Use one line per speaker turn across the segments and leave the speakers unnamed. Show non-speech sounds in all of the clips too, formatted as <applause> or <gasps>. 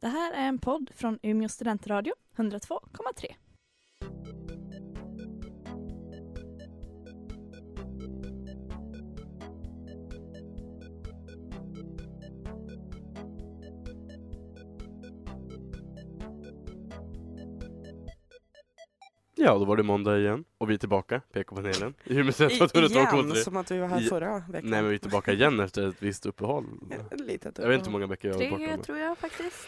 Det här är en podd från Umeå studentradio, 102,3.
Ja, då var det måndag igen och vi är tillbaka,
<laughs>
PK-panelen, i Umeå <laughs>
I-
Centrum 102,3.
igen, som att vi var här
I-
förra veckan.
Nej men vi är tillbaka igen efter ett visst uppehåll.
Ett litet
Jag vet inte hur
uppehåll.
många veckor jag har varit borta.
Tre
men-
tror jag faktiskt.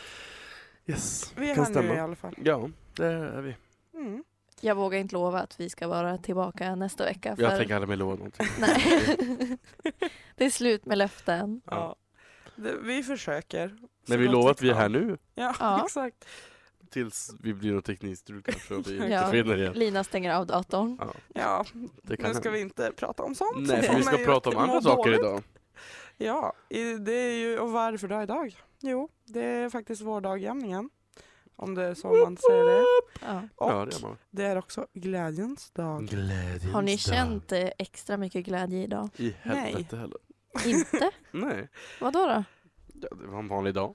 Yes,
Vi är
kan
här nu i
stämma.
alla fall.
Ja, det är vi.
Mm.
Jag vågar inte lova att vi ska vara tillbaka nästa vecka. För...
Jag tänker aldrig mer lova
<laughs>
någonting. <laughs>
Nej. <laughs> det är slut med löften.
Ja.
Ja. Det- Vi försöker.
Men vi lovar att vi är här nu
Ja, <laughs>
Ja.
exakt.
tills vi blir något teknikstrul kanske och
<laughs>
vi
Ja.
försvinner igen.
Lina stänger av datorn.
Ja,
Ja,
det kan
nu ska vi
hända.
inte prata om sånt. som
Nej, för vi
får mig
ska
att
prata om
må
andra saker
dåligt.
idag.
Ja, i- det är ju, och varför då idag? Jo, det är faktiskt vårdagjämningen. Om det är så man säger det.
Ja.
Och
Ja, det är Mm. man.
det är också glädjens dag.
Glädjens
Har ni
dag.
känt eh, extra mycket glädje idag?
I helvete heller.
Inte?
Nej,
Vad då? då?
ja, det var en vanlig dag.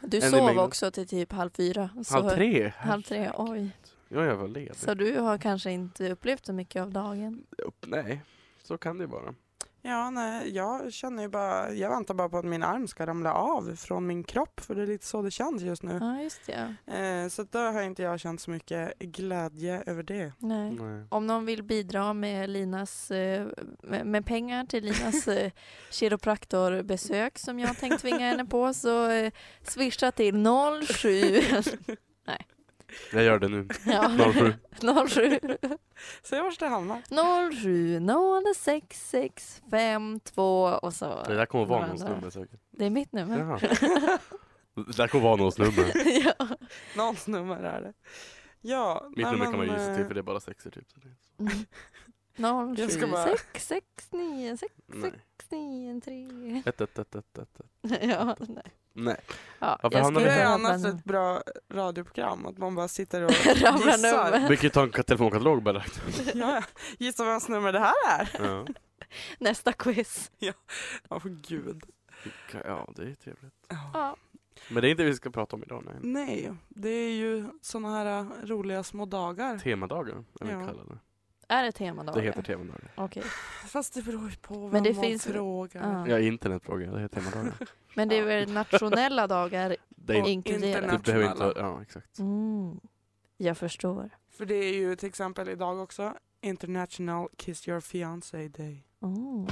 Du
Än i
sov
mängden.
också till typ halv fyra. så-
Halv tre.
Halv tre, oj.
Ja, jag var ledig.
Så du har kanske inte upplevt så mycket av dagen.
Upp- Nej, så kan det ju vara.
Ja, nej, jag känner ju bara, jag väntar bara på att min arm ska ramla av från min kropp, för det är lite så det känns just
Mm.
nu.
Ja, just det. ja.
Eh, så att då har inte jag känt så mycket glädje över det.
Nej.
Nej.
Om någon vill bidra med, Linas, eh, med med pengar till
<laughs>
Linas eh, kiropraktorbesök som jag tänkt tvinga henne på så eh, swisha till
<laughs>
07.
Jag gör det nu.
Ja. <laughs>
07.
07
Se vart det hamnar.
07 06 6 5 2 och så.
Det där kommer vara
Några
någons
andra.
nummer säkert.
Det är mitt nummer. <laughs>
Jaha. Det där kommer vara någons nummer.
ja.
Någons nummer är det. Ja,
Mitt
nej,
nummer kan man
men,
ju gissa till
eh,
för det är bara sexor typ. Så det...
Mm.
Jag
07
ska bara-
6 6 9 6
Nej.
9 3.
Ett, ett, ett, ett, ett, ett.
<laughs> ja, nej.
Nej.
Ja,
Varför
jag
hamnar vi
skulle
Det är
där?
behöva
annars
en-
ett bra radioprogram, att man bara sitter
<laughs>
och
Rabbla
gissar.
nummer.
Vi kan ju ta en telefonkatalog bara.
<laughs> Ja, gissa vems nummer det här är.
Ja.
Nästa quiz.
Åh gud.
<laughs> ja, det är trevligt.
Ja.
Ja.
Men det är inte det vi ska prata om idag. Nej.
Nej, det är ju såna här eh, roliga små dagar.
Temadagar är vi
Ja.
kallar det.
Är det temadagar?
Det heter temadagar.
Okej.
Fast det beror ju på vem
Men det
man
finns-
frågar.
Ja.
Ja, internetfråga. Det heter temadagar.
Men det är väl nationella dagar
<laughs> Det är inte,
internet.
inkluderat?
du behöver inte...
Internationella.
Ja, exakt.
Mm. Jag förstår.
För det är ju till exempel idag också International Kiss Your Fiancé Day.
Mm.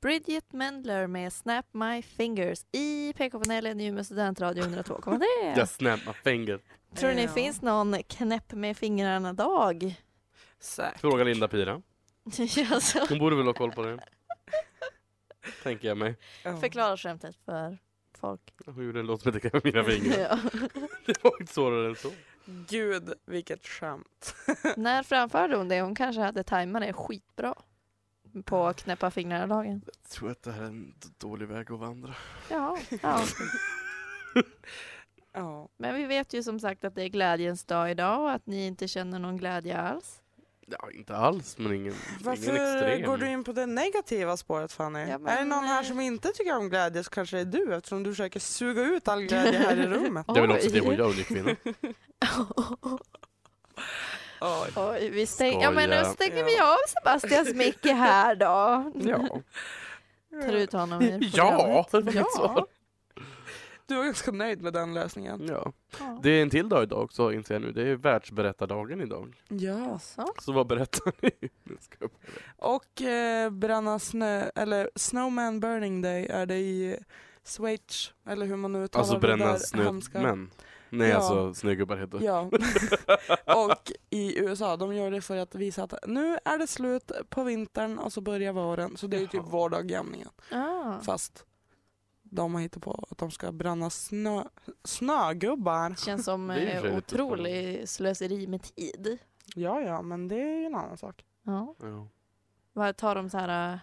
Bridget Mendler med Snap My Fingers i PK-panelen i Umeå studentradio 102,3.
Jag snappar finger.
Tror ni
Ja.
det finns någon knäpp med fingrarna-dag? <laughs>
Säkert.
Fråga Linda Pira.
Alltså,
Hon borde väl ha koll på det. Tänker jag mig.
Ja.
<laughs> Förklara skämtet för folk.
Hon gjorde en låt som heter Knäpp mina fingrar.
<laughs> Ja.
<laughs> Det var inte svårare än så.
Gud,
<laughs>
vilket skämt.
När framförde hon det? Hon kanske hade tajmat det skitbra på knäppa fingrarna-dagen.
Jag tror att det här är en dålig väg att vandra.
Ja, ja.
Ja.
Men vi vet ju som sagt att det är glädjens dag idag och att ni inte känner någon glädje alls.
Ja, inte alls, men ingen, ingen
Varför
extrem.
går du in på det negativa spåret Fanny?
Ja, men- eh,
är det någon här som inte tycker om glädje så kanske det är du eftersom du försöker suga ut all glädje här i
<laughs>
rummet.
Det är väl också det hon gör, hon är
<laughs>
kvinna.
Oj.
<laughs> Oj, vi stäng... ja, men
Skoja.
nu stänger vi av Sebastians mick här då.
Ja.
Tar ut honom ur
Ja, det var
programmet.
mitt svar.
Du var ganska nöjd med den lösningen.
ja.
Ja.
Det är en till dag idag också, inser jag nu. Det är världsberättardagen idag.
Ja.
Jaså?
Så vad berättar ni? <laughs> Nu ska jag-
Och eh, bränna snö, eller Snowman Burning Day är det i Schweiz, eller hur man nu uttalar
Alltså
det där
bränna
hemska.
snömän. Nej,
Ja.
alltså snögubbar heter det.
<laughs>
Ja. och i USA, de gör det för att visa att nu är det slut på vintern och så börjar våren. Så det är ju typ
Jaha.
vårdagjämningen.
Ah.
Fast de har hittat på att de ska bränna snö, snögubbar.
Känns som
Det är ju
eh,
för sig lite
otrolig slöseri med tid.
Ja, ja, men det är ju en annan sak.
Ja.
Ja.
Vad tar de så här eh,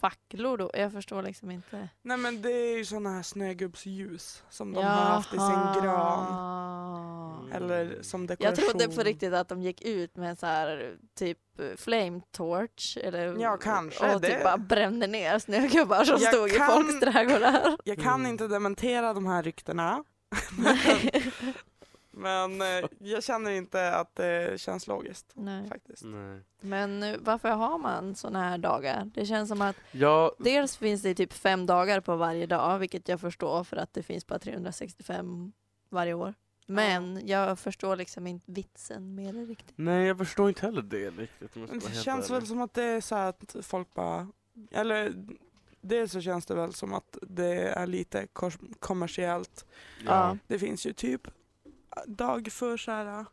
facklor då? Jag förstår liksom inte.
Nej men det är ju sådana här snögubbsljus som de har haft i sin gran.
gran.
Mm.
Eller som
Jag
dekoration.
trodde på riktigt att de gick ut med så här typ flame torch eller
Ja, kanske,
och
det-
typ bara brände ner snögubbar som
Jag
stod i
kan- <laughs>
folks trädgårdar.
Jag kan
Mm.
inte dementera de här ryktena. men
<laughs>
eh, jag känner inte att det känns logiskt
Nej.
faktiskt.
Nej.
Men eh, varför har man såna här dagar? Det känns som att
Ja,
dels finns det typ fem dagar på varje dag, vilket jag förstår för att det finns bara 365 varje år. Men jag förstår liksom inte vitsen med det riktigt.
nej, jag förstår inte heller det riktigt. om jag ska vara
Men det
helt
känns väl
ärlig.
som att det är så här att folk bara... Eller dels så känns det väl som att det är lite kors- kommersiellt.
Ja.
Det finns ju typ dag för så här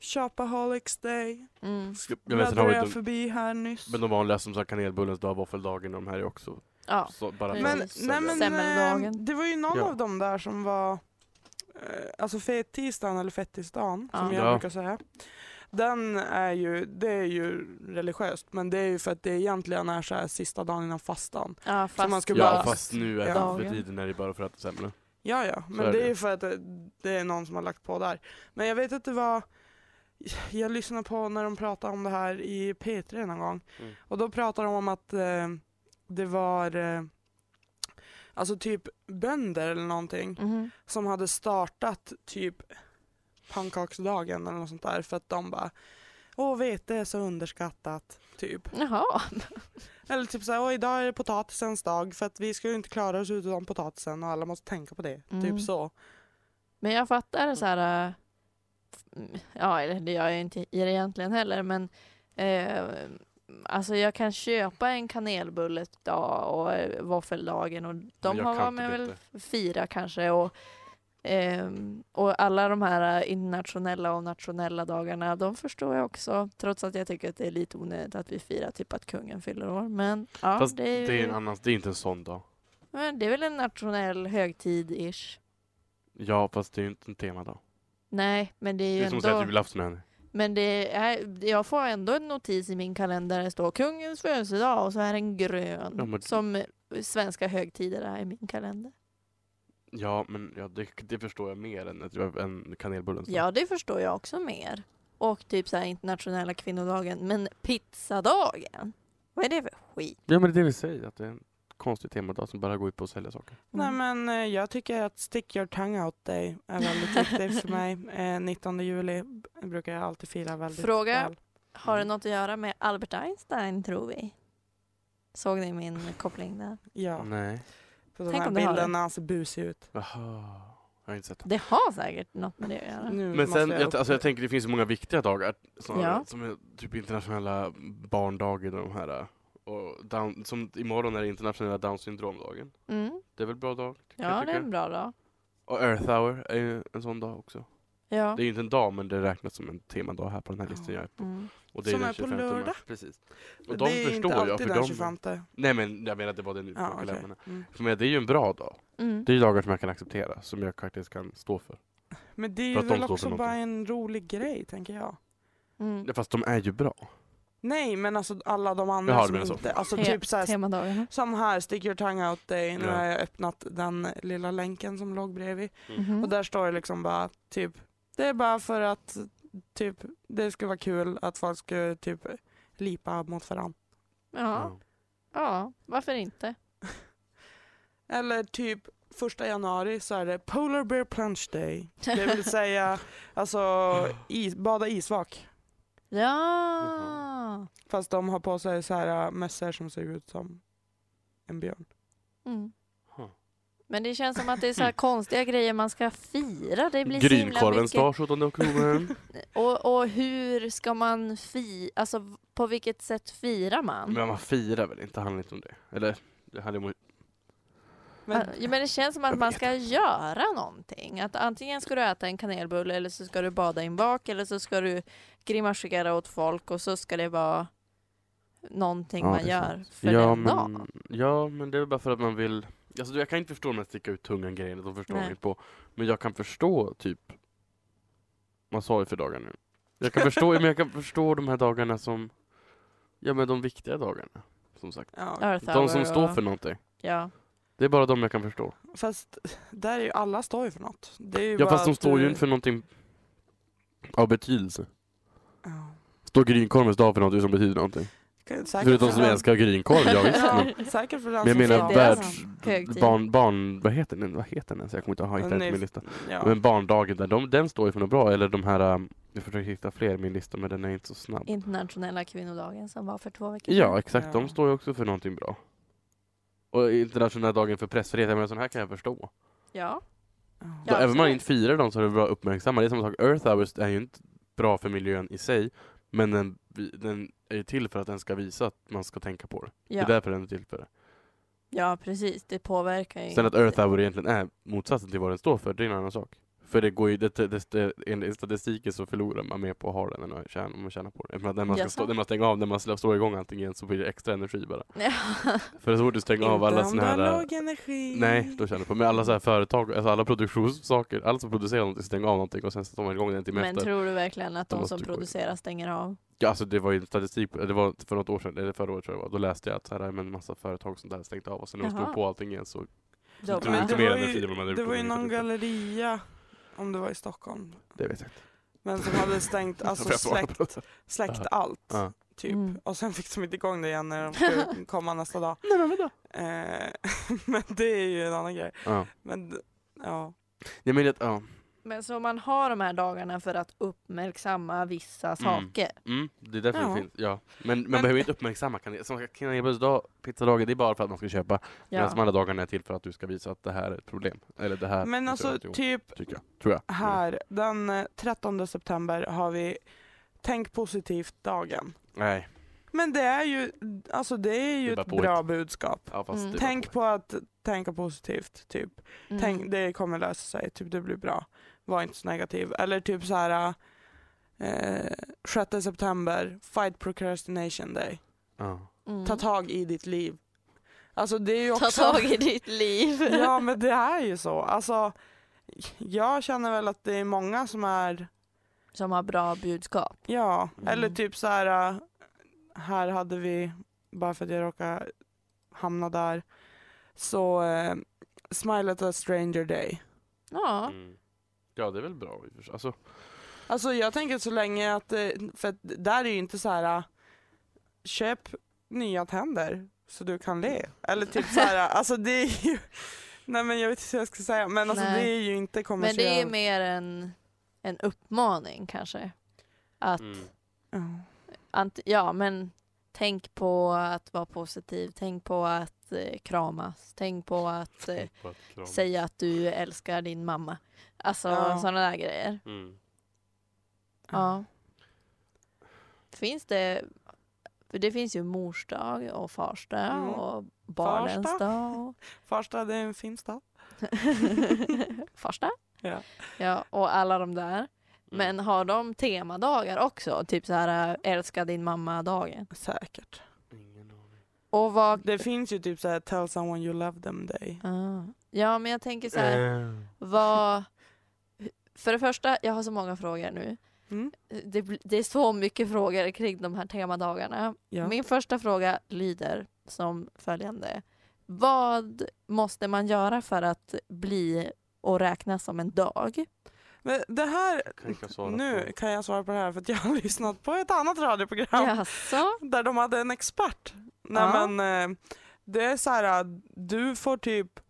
Shopaholics day.
Mm.
Ska- Jag vet, sen har
Bläddrade
vi
jag
de,
förbi här nyss.
men de vanliga som sagt kanelbullens dag, våffeldagen, de här är också.
Ja.
Så, bara
Men-
för att
Men,
säga.
nej, men eh,
Semmeldagen.
det var ju någon
Ja.
av dem där som var, eh, alltså fettisdagen eller fettisdagen som
Ja.
jag
Ja.
brukar säga. Den är ju, det är ju religiöst men det är ju för att det egentligen är så här sista dagen innan fastan.
Ja, fast,
man ska
Ja,
bara-
fast nu är
Ja.
för tiden är det bara för att det är sämre.
Ja ja,
Så
men
är
det
det.
är ju för att det, det är någon som har lagt på där. Men jag vet att det var, jag lyssnade på när de pratade om det här i P3 någon gång
Mm.
och då pratade de om att eh, det var eh, Alltså typ bönder eller någonting
Mhm.
som hade startat typ pannkaksdagen eller något sånt där för att de bara Åh vete är så underskattat, typ.
Jaha.
Eller typ såhär, åh idag är det potatisens dag för att vi ska ju inte klara oss utan potatisen och alla måste tänka på det.
Mm.
Typ så.
Men jag
Mm.
fattar så här... äh, f- mm, Ja, eller det gör jag inte i det egentligen heller, men eh, alltså jag kan köpa en kanelbulle dag och eh, våffeldagen och de
jag
har
kan typ
varit
inte
med väl
bättre.
f- fyra kanske och, ehm, och alla de här eh, internationella och nationella dagarna, de förstår jag också, trots att jag tycker att det är lite onödigt att vi firar typ att kungen fyller år. Men ja,
Fast
det, är,
en
ju,
annan, det är inte en sån dag.
men det är väl en nationell högtid-ish.
Ja, fast det är ju inte en temadag.
Nej, men det är ju
Det är som
ändå...
att säga att julafton är en-
Men det är, jag får ändå en notis i min kalender där det står kungens födelsedag och så är den grön.
Ja, men-
Som svenska högtider är i min kalender.
Ja, men ja, det, det förstår jag mer än, att- än kanelbullens dag.
Ja, det förstår jag också mer. Och typ så här internationella kvinnodagen. Men pizzadagen? Vad är det för skit?
Ja, men det är det vi säger, att det är en konstig temadag som bara går ut på att sälja saker.
Nej
Mm.
men eh, jag tycker att stick your tongue out day är väldigt viktigt för mig.
<laughs>
Eh, 19 juli b- brukar jag alltid fira väldigt
Fråga.
väl.
Har
Mm.
det något att göra med Albert Einstein tror vi? Såg ni min koppling där?
Ja,
Nej.
på den
Tänk
här
om det har det.
bilden när han ser busig ut.
Jaha. Jag har inte sett det.
Det har säkert något med det att göra.
Nu
Men
måste
sen, jag,
upp-
alltså, jag tänker det finns så många viktiga dagar snarare,
Ja.
som är typ internationella barndagen och de här. Och down, som imorgon är det internationella down syndromdagen.
Mm.
Det är väl en bra dag? kan jag
Ja, det är
tycka.
en bra dag.
Och Earth hour är ju en sån dag också.
Ja.
Det är ju inte en dag men det räknas som en temadag här på den här
Ja.
listan jag är på.
Mm.
Och det
Som
den
är på
25 mars.
lördag.
Precis. Och de
det är
förstår
inte
jag,
alltid
för
den
de- typ
25.
Nej men jag menar att det var det nu.
Ja,
jag
okej.
lämnade.
Mm.
För mig, det är ju en bra dag.
Mm.
Det är ju dagar som jag kan acceptera, som jag faktiskt kan stå för.
Men det är
För
ju
att de
väl
står för
också bara
någonting.
en rolig grej, tänker jag.
Mm.
Ja, Fast de är ju bra.
Nej, men alltså alla de andra
Jaha, du
som
menar så.
inte... Alltså
Te-
typ såhär,
Temadagarna.
som här, stick your tongue out day. Nu
Ja.
har jag öppnat den lilla länken som låg bredvid.
Mm.
Mhm.
Och där står det liksom bara typ, det är bara för att typ, det skulle vara kul att folk skulle typ lipa mot varandra.
Ja, ja, varför inte?
Eller typ första januari så är det Polar Bear Plunge Day. Det
<laughs>
vill
<laughs>
säga, alltså is, bada isvak.
ja!
Fast de har på sig så här äh, mössor som ser ut som en björn.
Mm.
Huh.
Men det känns som att det är så här konstiga grejer man ska fira. Det blir så himla
Grynkorvens
mycket.
dag 17
<laughs>
oktober.
Och, och hur ska man fira? Alltså v- på vilket sätt firar man?
Men man firar väl inte, handlar inte om det? Eller? Det handlar om...
Men
Äh,
Ja, men det känns som att
Jag
man
vet
ska göra någonting. Att antingen ska du äta en kanelbulle eller så ska du bada i en vak eller så ska du grimasera åt folk och så ska det vara någonting
Ja,
man
det är
gör
sant.
för
ja,
den
men,
dagen.
Ja, men det är väl bara för att man vill Alltså, du, jag kan inte förstå de här sticka ut tungan grejerna, de förstår
Nej.
mig inte på. Men jag kan förstå typ massage för dagar nu. Jag kan förstå, men jag kan förstå de här dagarna som, ja men de viktiga dagarna. Som sagt.
Ja.
Earth
De som
hour
står
och-
för någonting.
Ja.
Det är bara de jag kan förstå.
Fast där är ju alla står ju för något. Det är ju
Ja
bara
fast de
att
står ju
du-
inte för någonting av betydelse.
Ja.
Står grynkorvens dag för någonting som betyder någonting?
Kan- säkert
Förutom
för
som
den-
älskar grynkorv, ja visst. Men,
<laughs> Ja, säkert för den
men jag
som
menar
ska-
det är
världs...
högtid.
Barn, barn... Vad heter den? Vad heter den? Så jag kommer inte ha hittat den
Nej,
på min lista.
Ja.
Men barndagen, där, de, den står ju för något bra. Eller de här... um, Jag försöker hitta fler i min lista, men den är inte så snabb.
Internationella kvinnodagen som var för två veckor
Ja, exakt.
Ja.
De står ju också för någonting bra. Och internationella dagen för pressfrihet, jag menar sån här kan jag förstå.
Ja.
Då,
Ja,
även om man
absolut.
inte firar dem så är det bra att uppmärksamma. Det är samma sak, Earth Hours är ju inte bra för miljön i sig, men den, vi- den är ju till för att den ska visa att man ska tänka på det.
Ja.
Det är därför den är till för det.
ja, precis. Det påverkar ju
Sen att
inte. <laughs>
Earth Hour egentligen är motsatsen till vad den står för, det är en annan sak. För det går ju, det, det, det, enligt statistiken så förlorar man mer på att ha den än att tjäna, om man tjänar på det. För att när man, ska
Jaså?
stå, när man stänger av, när man slår slår igång allting igen så blir det extra energi bara.
Ja.
För så fort du stänger av alla såna
Inte om du har
här... äh, eh,
låg energi.
Nej, då känner du på Men alla så här företag, alltså alla produktionssaker, alla som producerar någonting stänger av någonting och sen så tar man igång det en timme
Men
efter.
tror du verkligen att
Då
de
måste
som
du gå in.
producerar stänger av?
Ja, alltså det var ju en statistik, på- det var för något år sedan, eller förra året tror jag det var, då läste jag att så här, men massa företag som där stängt av och sen när de
Jaha.
slog på allting igen så
Då
tror
bara-
inte
det <laughs>
mer
var
energi
ju-
än vad man hade
Det
gjort
var
om
ju
man
någon
inte hade
galleria, om det var i Stockholm,
det vet jag inte.
men som
<laughs>
hade stängt, alltså
Varför jag svarar
släckt,
på det.
släckt
Ja.
allt.
Ja.
Typ.
Mm.
Och sen fick de inte igång det igen när de skulle komma nästa dag.
Nej men vadå?
Eh, <laughs> men det är ju en annan grej.
Ja.
Men d- ja.
Jag menar att, ja.
Men så man har de här dagarna för att uppmärksamma vissa saker.
Mm, det är därför
Ja.
det finns, ja. Men man
Men-
behöver inte uppmärksamma kan- som kanelbullens dag, pizzadagen, det är bara för att man ska köpa. Medan de
Ja.
andra dagarna är till för att du ska visa att det här är ett problem. Eller det här
Men
är
alltså
någonting,
typ
tycker jag. Tror jag.
här, den eh, 13 september har vi Tänk positivt-dagen.
Mm. Nej.
Men det är ju, alltså det är ju
Det är bara
ett
på
bra budskap.
Ja, fast
Mm.
det var-
Tänk på att tänka positivt, typ.
Mm.
Tänk, det kommer lösa sig, typ det blir bra. Var inte så negativ. Eller typ så här eh, 6 september, fight procrastination day.
Ja.
Mm.
Ta tag i ditt liv. Alltså det är ju
Ta
också...
tag i ditt liv.
<laughs> Ja men det är ju så. Alltså jag känner väl att det är många som är,
<laughs> Som har bra budskap.
ja, eller
Mm.
typ så här, eh, här hade vi, bara för att jag råkade hamna där, så eh, smile at a stranger day.
Ja.
Mm. ja, det är väl bra i och för sig. Alltså,
Alltså jag tänker så länge att, eh, för att där är ju inte så här äh, köp nya tänder så du kan le. Eller typ så här, äh, alltså det är ju, <laughs> nej men jag vet inte hur jag ska säga, men alltså
Nej.
det är ju inte
Men det
kommersiellt.
är ju mer en, en uppmaning kanske. Att,
mm.
Ja.
ant, ja men tänk på att vara positiv, tänk på att eh, kramas, tänk på att eh,
Tänk på att krama.
säga att du älskar din mamma. Alltså
Ja.
sådana där grejer.
Mm.
Ja. Finns det, för det finns ju morsdag och farsdag
Mm.
och barnens
Farsdag. <laughs>
dag. Och
Farsta det är en fin stad.
farsdag.
Ja.
ja, och alla de
Mm.
där. Men har de temadagar också? Typ så här älska din mamma-dagen.
Säkert.
Ingen aning.
Och vad...
Det finns ju typ så här tell someone you love them day.
Ah. Ja, men jag tänker så här,
Eh,
vad... För det första, jag har så många frågor nu.
Mm.
Det, bl- det är så mycket frågor kring de här temadagarna.
Ja.
Min första fråga lyder som följande. Vad måste man göra för att bli och räknas som en dag?
Men det här,
Kan inte jag svara
nu
på.
kan jag svara på det här för att jag har <laughs> lyssnat på ett annat radioprogram.
Jaså?
Där de hade en expert. Nej,
Ja.
men, eh, det är så här, eh, du får typ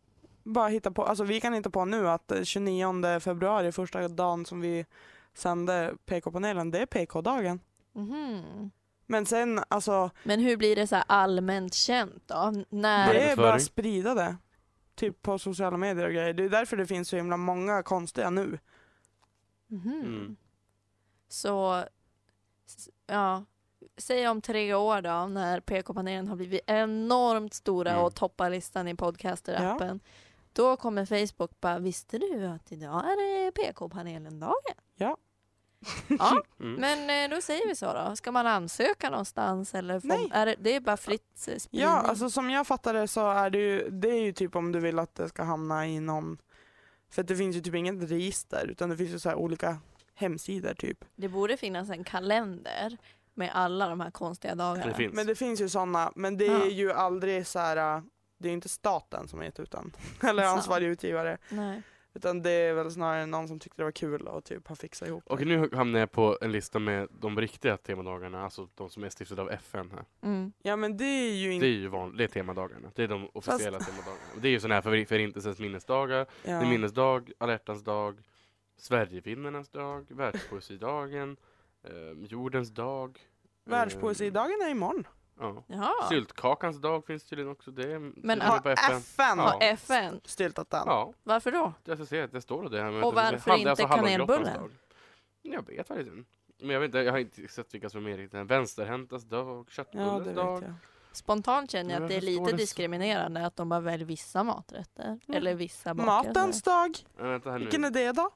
bara hitta på, alltså vi kan hitta på nu att eh, 29 februari, första dagen som vi sände PK-panelen, det är PK-dagen.
Mhm.
Men sen alltså,
Men hur blir det så här allmänt känt då? När...
det är bara
Marknadsföring.
att sprida det. Typ på sociala medier och grejer. Det är därför det finns så himla många konstiga nu.
Mhm.
Mm.
Så, s- ja. Säg om tre år då, när PK-panelen har blivit enormt stora
Mm.
och toppar listan i podcaster-appen. Då kommer Facebook bara, visste du att idag är det PK-panelen-dagen?
Ja.
<laughs> Ja,
<laughs> Mm.
men eh, då säger vi så då. Ska man ansöka någonstans eller får,
Nej.
är det, det är bara fritt eh, spridning?
Ja,
Mm.
alltså som jag fattar det så är det ju, det är ju typ om du vill att det ska hamna i någon, för att det finns ju typ inget register utan det finns ju så här olika hemsidor typ.
Det borde finnas en kalender med alla de här konstiga dagarna.
Det finns.
Men det finns ju sådana, men det
Ja.
är ju aldrig så här. äh, det är ju inte staten som har gett ut den, <laughs> eller
Sant.
ansvarig utgivare,
Nej.
utan det är väl snarare någon som tyckte det var kul och typ har fixat ihop det.
Okej, nu hamnar jag på en lista med de riktiga temadagarna, alltså de som är stiftade av FN här.
Mm.
Ja men det är ju
Det är
inte...
ju van, det är temadagarna. Det är de officiella temadagarna. Och Det är ju sådana här för, förintelsens minnesdagar,
Ja.
det är minnesdag, alla hjärtans dag, Sverigefinnarnas dag, världspoesidagen, eh, jordens dag. ehm,
Världspoesidagen är imorgon.
Ja.
Jaha.
Syltkakans dag finns tydligen också. Det är tydligen
Ja,
Har
på FN.
FN
Ja.
FN.
styltat den?
Ja,
Varför då?
jag ska se att det står det här. Men
Och
att det-
varför
hade
inte
hallongrottans
kanelbullen?
dag. Jag vet faktiskt inte. Men jag, vet inte, jag har inte sett vilka som är riktigt. Vänsterhäntas dag,
Ja,
köttbullens
det vet
dag.
jag.
Spontant känner jag
Men
att det är
varför står det så?
lite diskriminerande att de bara väljer vissa maträtter. Eller vissa bakelser.
Matens dag,
Men vänta här nu.
vilken är det då?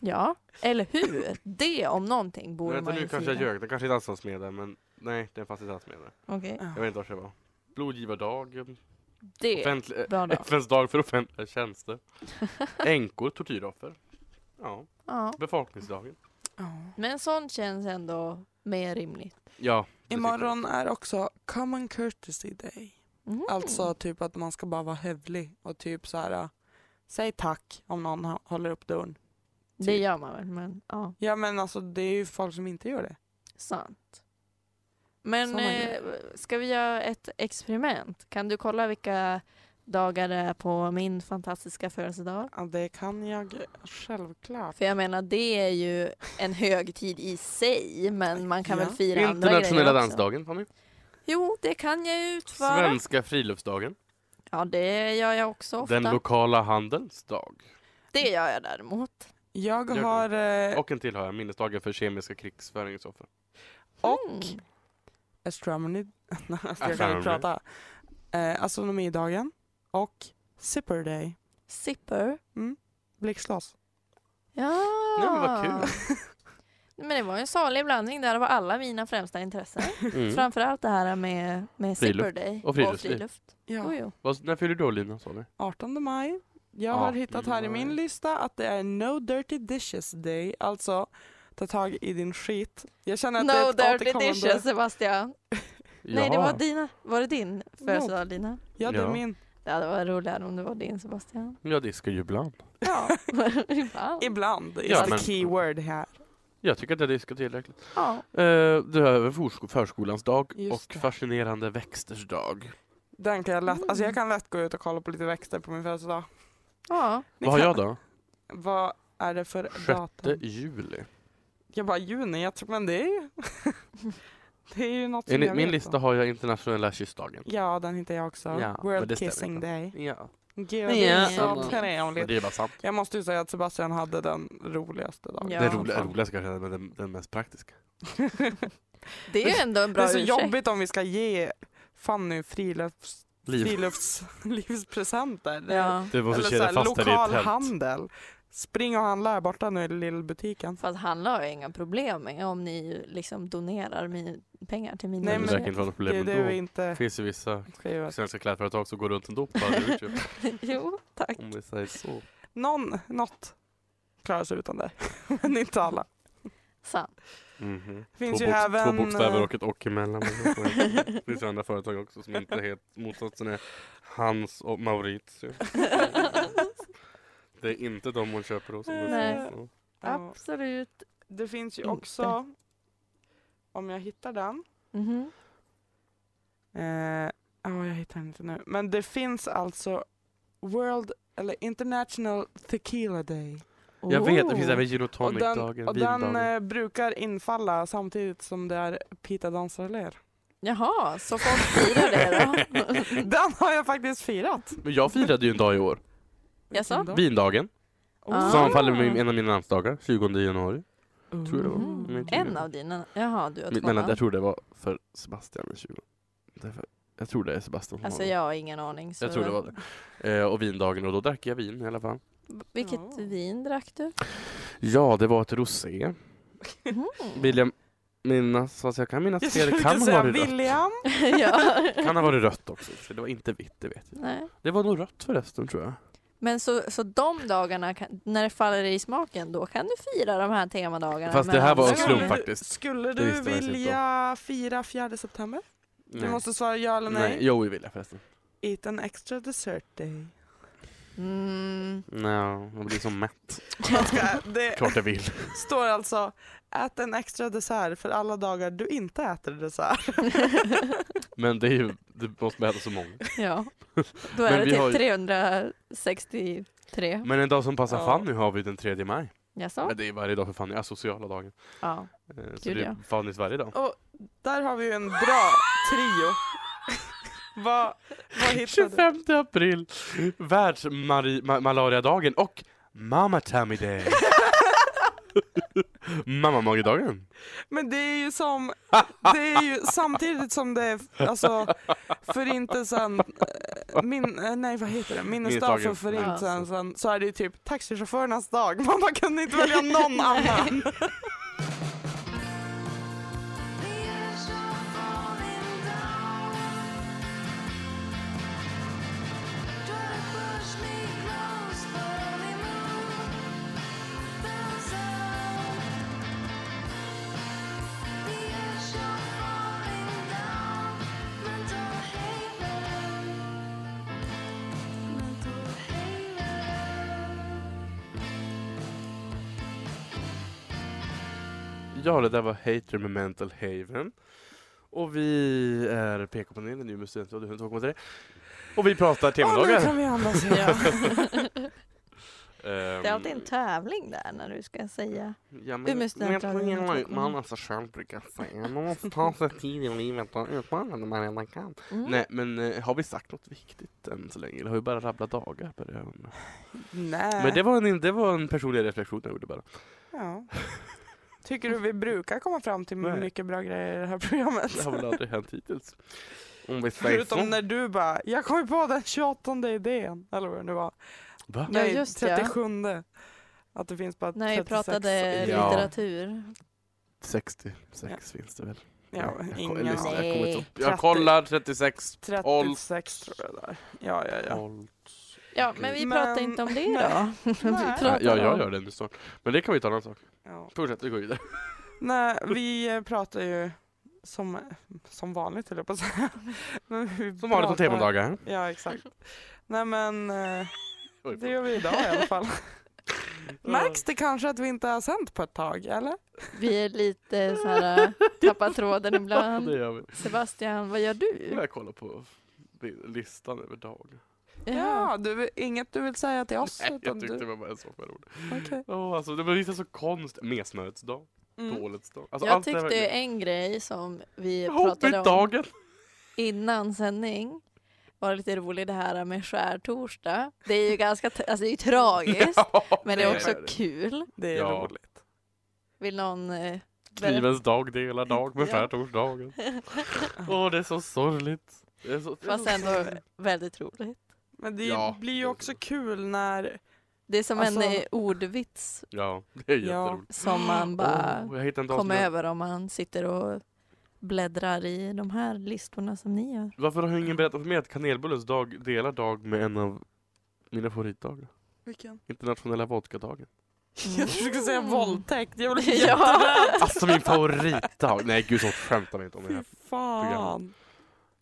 Ja, eller hur? Det om någonting borde
Vänta
man
nu
ju
kanske jag
fira.
ljög, den kanske inte alls fanns med där men nej den fanns inte alls med där.
Okej,
Jag vet inte vad det var. Blodgivardagen,
det är
offentlig,
bra dag.
FNs dag för offentliga tjänster, änkor, tortyroffer, ja,
Ja.
befolkningsdagen.
Ja.
Men sånt känns ändå mer rimligt.
Ja, det
Imorgon är också common courtesy day.
Mhm.
Alltså typ att man ska bara vara hövlig och typ så här äh, säg tack om någon ha- håller upp dörren.
Det gör man väl, men ja.
Ja men alltså det är ju folk som inte gör det.
Sant. Men
Såna
eh, ska vi göra ett experiment? Kan du kolla vilka dagar det är på min fantastiska födelsedag?
Ja, det kan jag självklart.
För jag menar, det är ju en högtid i sig, men man kan
Ja.
väl fira
tycker jag.
andra grejer
Internationella
också.
dansdagen Fanny.
Jo, det kan jag ju utföra.
Svenska friluftsdagen.
Ja, det gör jag också ofta.
Den lokala handelns dag.
Det gör jag däremot.
Jag
Jag-
har eh,
Och en till har jag, minnesdagen för kemiska krigsföringsoffer.
och
Mm.
astronomy... <laughs> Nej, alltså, jag kan inte
Astronomy.
prata. Eh, astronomidagen och zipper day.
Zipper.
Blixtlås.
Ja.
Nej, men vad kul.
<laughs> Men det var ju en salig blandning där av alla mina främsta intressen.
Mm.
Framförallt det här med, med Zipper
Friluft.
Day
Och friluftsliv.
Jo,
Ja,
jo.
Vad- När fyller du år, Lina sa du?
18 maj. Jag har
18
hittat här i
maj.
min lista att det är no dirty dishes day, alltså ta tag i din skit. Jag känner att
No
det är ett
dirty
återkommande-
dishes Sebastian. Nej det
Jaha.
var dina. Var det din födelsedag Lina?
Ja, det
Ja.
är min.
Det hade varit roligare om det var din Sebastian.
Jag diskar ju ibland.
<laughs>
Ja,
Ibland.
ibland is
Ja,
the
men-
key word här.
Jag tycker att jag diskar tillräckligt.
Ja.
Eh, Du har även försko- förskolans dag
Just
och
det.
fascinerande växters dag.
Den kan jag lätt, alltså
Mm.
jag kan lätt gå ut och kolla på lite växter på min födelsedag.
ja.
Ni
Vad har
kan-
jag då?
Vad är det för
Det är
datum?
juli.
Jag bara juni, jag tror, men det är ju... <laughs> det är ju något som
Enligt
jag
min
vet
lista
om.
har jag internationella kyssdagen.
Ja, den hittar jag också.
Ja, men det
World
stämmer
kissing
inte.
day.
Ja.
Gud, det
Ja.
är så
Samma.
Men
trevligt.
det är bara sant.
Jag måste ju säga att Sebastian hade den roligaste dagen.
Ja.
Den roliga,
<laughs>
roligaste kanske är den, den mest praktiska.
Det är ju ändå en
Det
bra
är så
ursäkt.
jobbigt om vi ska ge Fanny frilufts, <laughs>
Liv.
friluftslivspresenter. Det-
Ja.
Du måste
Eller så
kedja
här,
fast här i
lokal
ett tält.
handel. Spring och handla här borta nu i lillbutiken.
Fast han har ju inga problem med om ni liksom donerar min pengar till mina
Nej,
Nej, men det
men-
verkar inte vara något
Det är
problem
det vi
ändå.
inte
Det finns ju vissa
ska göra.
svenska klädföretag som går runt ändå på
<laughs>
Youtube.
<laughs> Jo, tack.
Om vi säger så.
Någon, något klarar sig utan det. <laughs> men inte alla. <laughs>
Sant.
Mhm.
Det finns
två,
ju
bok-
även...
två bokstäver
eh,
och ett och emellan. Men Det
<laughs>
finns ju andra företag också som inte helt motsatsen är Hans och Maurizio. Det är inte de hon köper hos. om det
Nej.
säger så.
eh, ja,
Absolut.
Det finns ju
Inte.
också, om jag hittar den,
Mhm.
Eh, ja, jag hittar inte nu. Men det finns alltså World, eller International Tequila Day.
Jag vet, det
Oh.
finns även gin och
Och
tonic-dagen,
och den
vindagen.
eh, brukar infalla samtidigt som det är Pita dansar och ler.
Jaha, så folk
<laughs>
firar det då?
Den har jag faktiskt firat.
Men jag firade ju en dag i år,
Jaså?
Vilken dag?
vindagen,
Ah.
som faller med min- en av mina namnsdagar, 20 januari. tror jag det var.
Mhm.
Men jag
Eh,
tror
En
det.
av dina? Jaha, du har
Mitt
två
mellan,
namn.
jag tror det var för Sebastian den 20. Därför, jag tror det är Sebastian som
Alltså
har-
jag har ingen aning. Så
jag tror det var det. Eh, och vindagen, och då drack jag vin i alla fall.
Vilket
Ja.
<laughs>
vin drack du?
Ja, det var ett rosé.
Mhm.
Vill jag minnas, alltså jag kan minnas
Jag
att det
skulle
kan ha
säga
varit rött.
William.
<laughs> ja.
Kan ha varit rött också, för det var inte vitt, det vet jag.
Nej.
Det var nog rött förresten tror jag.
Men så, så de dagarna, kan, när det faller i smaken, då kan du fira de här temadagarna.
Fast
med
det här var en
andra.
slump
Skulle-
faktiskt.
Skulle
Det
du
visste jag faktiskt inte
vilja fira 4 september? Du
Nej.
måste svara ja eller nej.
Jo, det vill jag förresten.
Eat an extra dessert day.
Mm. <laughs>
Nej, jag blir så mätt.
Jag ska- Det
<laughs> Klart jag vill.
står alltså ät en extra dessert för alla dagar du inte äter dessert.
Men det är ju, det måste man äta så många.
Ja. Då
Men
är det
vi
typ
har ju-
363.
Men en dag som passar
Ja.
Fanny har vi den 3 maj.
Jaså?
Men det är varje dag för Fanny, asociala dagen.
Ja.
Eh, Så
Gud,
det är
ja.
Fannys varje dag.
Och där har vi ju en bra trio. <laughs> Vad, vad hittade du?
25 april, världsmalariadagen och Mamma Tammy
<laughs>
Day. Mammamagedagen.
Men det är ju som, det är ju samtidigt som det är alltså förintelsen, eh, min, eh, nej vad heter det, minnesdag för
Minnesdagen.
förintelsen, så är det ju typ taxichaufförernas dag. <laughs> Man bara kunde inte välja någon annan.
Ja, det där var Hater med Mental Haven. Och vi är PK-panelen i Umeå studentradio 102,3. Och vi pratar
Och nu kan
temadagar.
vi andas igen.
ja. Det är
Ehm,
alltid en tävling där när du ska säga.
Ja, men,
Umeå
men jag
studentradio
tror jag
102,3.
att man alltså själv brukar säga. Man måste ta sig tid i livet och utmana det man redan kan.
Mm.
Nej, men eh, har vi sagt något viktigt än så länge? Eller har vi bara rabblat dagar? På det?
Nej.
Men det var, en, det var en personlig reflektion jag gjorde bara. <laughs>
ja. Tycker du vi brukar komma fram till
Nej.
mycket bra grejer i det här programmet? <laughs>
Det har väl aldrig hänt hittills. Om vi säger så.
Förutom när du bara, jag kom ju på den 28 idén, eller vad det nu var.
Va?
Ja,
Nej,
just det.
37. Att det finns bara 36.
När vi pratade
Ja.
litteratur.
66 finns det väl?
Ja,
jag,
ingen
jag, lyssnar, jag,
aning.
kommer inte
Nej,
ihåg. jag kollar 36.
36 tror jag där. Ja, ja, ja.
Tolv.
Ja, men vi
Men-
pratar inte om det idag. <laughs>
Nej.
Ja, jag
om-
gör det nu snart. Men det kan vi ta en annan sak.
ja.
Fortsätt, vi går vidare.
Nej, vi eh, pratar ju som, som vanligt höll jag på
<laughs>
att säga. Men vi
Som vanligt på
pratar-
temadagar.
Ja, exakt. Nej men, eh,
Oj,
det gör vi idag i
<laughs>
alla fall. Märks det kanske att vi inte har sänt på ett tag, eller?
Vi är lite
<laughs>
så här, eh, tappar tråden
Det
ibland.
gör vi.
Sebastian, vad gör du?
Jag kollar på listan över dagar.
Ja, du, vill- inget du vill säga till
Alltså,
oss?
Nej, jag
utan
tyckte
du,
det var bara en sak med ord.
Okej.
Åh, alltså, det var vissa så konst... Mesmörets dag,
Mm.
dålets dag. Alltså,
jag
allt det här
tyckte
var-
en grej som vi pratade om
Hobbitdagen!
innan sändning var lite rolig det här med skärtorsdag. Det är ju ganska t- alltså det är ju tragiskt,
<laughs> Ja,
men det är också
det.
kul.
Det är
Ja.
roligt.
Vill någon... Eh, berätta?
Knivens dag delar dag med
Ja. <laughs>
skärtorsdagen. Åh, det är så sorgligt. Det är så, det är
Fast
så
ändå
sorgligt.
väldigt roligt.
Men det
Ja,
blir
det
ju
är
också
roligt.
kul när
Det är som en
Alltså-
eh, ordvits
Ja, det är
Ja.
jätteroligt. <gasps>
som man bara
Åh, Oh, jag hittade en dag som
kommer
jag...
över om man sitter och bläddrar i de här listorna som ni gör.
Varför har ingen berättat för mig att kanelbullens dag delar dag med en av mina favoritdagar?
Vilken?
Internationella vodkadagen.
<laughs> Jag trodde du skulle säga
Mm.
våldtäkt. Jag
<laughs>
blev
Ja.
jätterädd.
Alltså min favoritdag! Nej gud, så skämtar vi inte om det
<laughs> Fy
här.
fan.
programmet.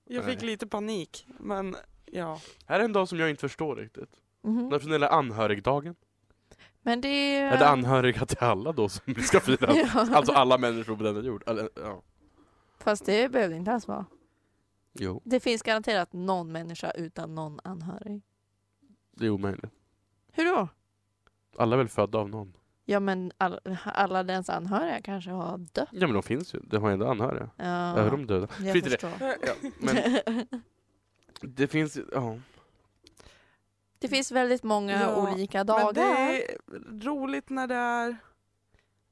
Jag fick
Nej.
lite panik. Men ja.
Här är en dag som jag inte förstår riktigt.
Mhm.
Nationella anhörigdagen.
Men det
Är det
är...
anhöriga till alla då som vi ska fira?
<laughs> Ja.
Alltså alla människor på denna jord. Eller, ja.
Fast det behöver det inte alls vara.
Jo.
Det finns garanterat någon människa utan någon anhörig.
Det är omöjligt.
Hur då?
Alla är väl födda av någon?
Ja men all, alla dens anhöriga kanske har dött.
Ja men de finns ju. De har ju ändå anhöriga.
Ja,
Är de döda?
jag
skit i det.
förstår.
Ja,
<laughs>
men det finns ju... Ja.
<laughs> Det finns väldigt många
Ja,
olika
Men det
dagar.
är roligt när det är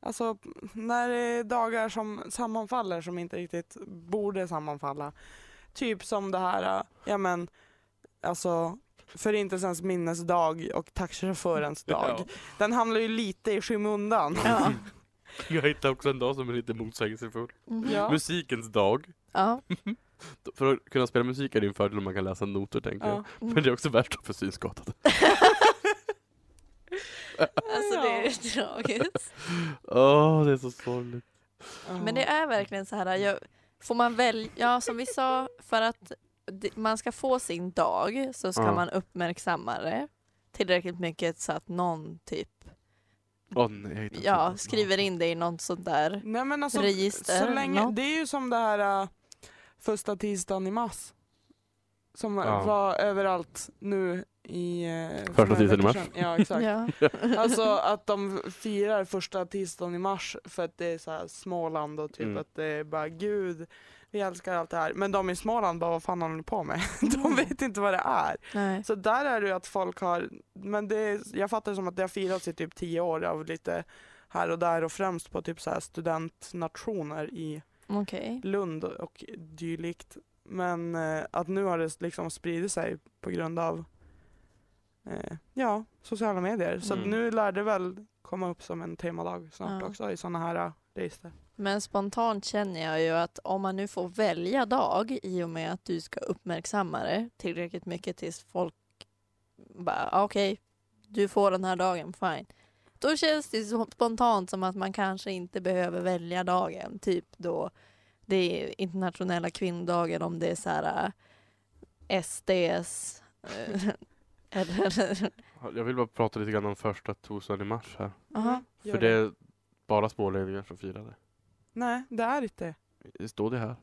Alltså när det är dagar som sammanfaller som inte riktigt borde sammanfalla. Typ som det här, äh, ja men alltså förintelsens minnesdag och taxichaufförens dag. Den hamnar ju lite i skymundan.
Ja.
Jag hittade också en dag som är lite motsägelsefull.
Mhm.
Ja.
Musikens dag.
Ja.
För att kunna spela musik är det en fördel om man kan läsa noter tänker jag.
Ja.
Mm.
Men det är också värst för
<laughs>
synskadade.
Alltså
<laughs>
det är tragiskt.
Åh, det är så sorgligt.
<laughs> Men det är verkligen så här, jag, får man välja, ja som vi sa, för att det- man ska få sin dag så ska
Ja.
man uppmärksamma det tillräckligt mycket så att någon typ,
Åh nej, jag hittade
ja,
inte.
skriver in det i något sånt där.
Nej men alltså,
Register
så
eller
länge,
något.
det är ju som det här äh, första tisdagen i mars. Som
Ja.
var överallt nu i... eh, för
Första
några
tisdagen i
veckor
mars.
sedan. Ja
<laughs>
exakt.
<laughs>
Ja.
Alltså
<laughs>
att de firar första tisdagen i mars för att det är så här Småland och typ
Mm.
att det är bara gud, vi älskar allt det här. Men de i Småland bara vad fan håller ni på med? <laughs> De vet inte vad det är.
Nej.
Så där är det ju att folk har, men det, är- jag fattar det som att det har firats i typ tio år av lite här och där och främst på typ så här studentnationer i
Okej.
Lund och dylikt. Men eh, att nu har det liksom spridit sig på grund av eh, ja, sociala medier. Så att
Mm.
nu lär det väl komma upp som en temadag snart
Ja.
också i sådana här eh, register.
Men spontant känner jag ju att om man nu får välja dag i och med att du ska uppmärksamma det tillräckligt mycket tills folk bara "Ah, okej, du får den här dagen, fine. Då känns det ju så spontant som att man kanske inte behöver välja dagen. Typ då det är internationella kvinnodagen om det är så här äh, SDs eh, <laughs> eller...
Jag vill bara prata lite grann om första torsdagen i mars här.
Aha.
Mm. Gör
För det är bara smålänningar som firar det.
Nej, det är inte.
det. Står det här?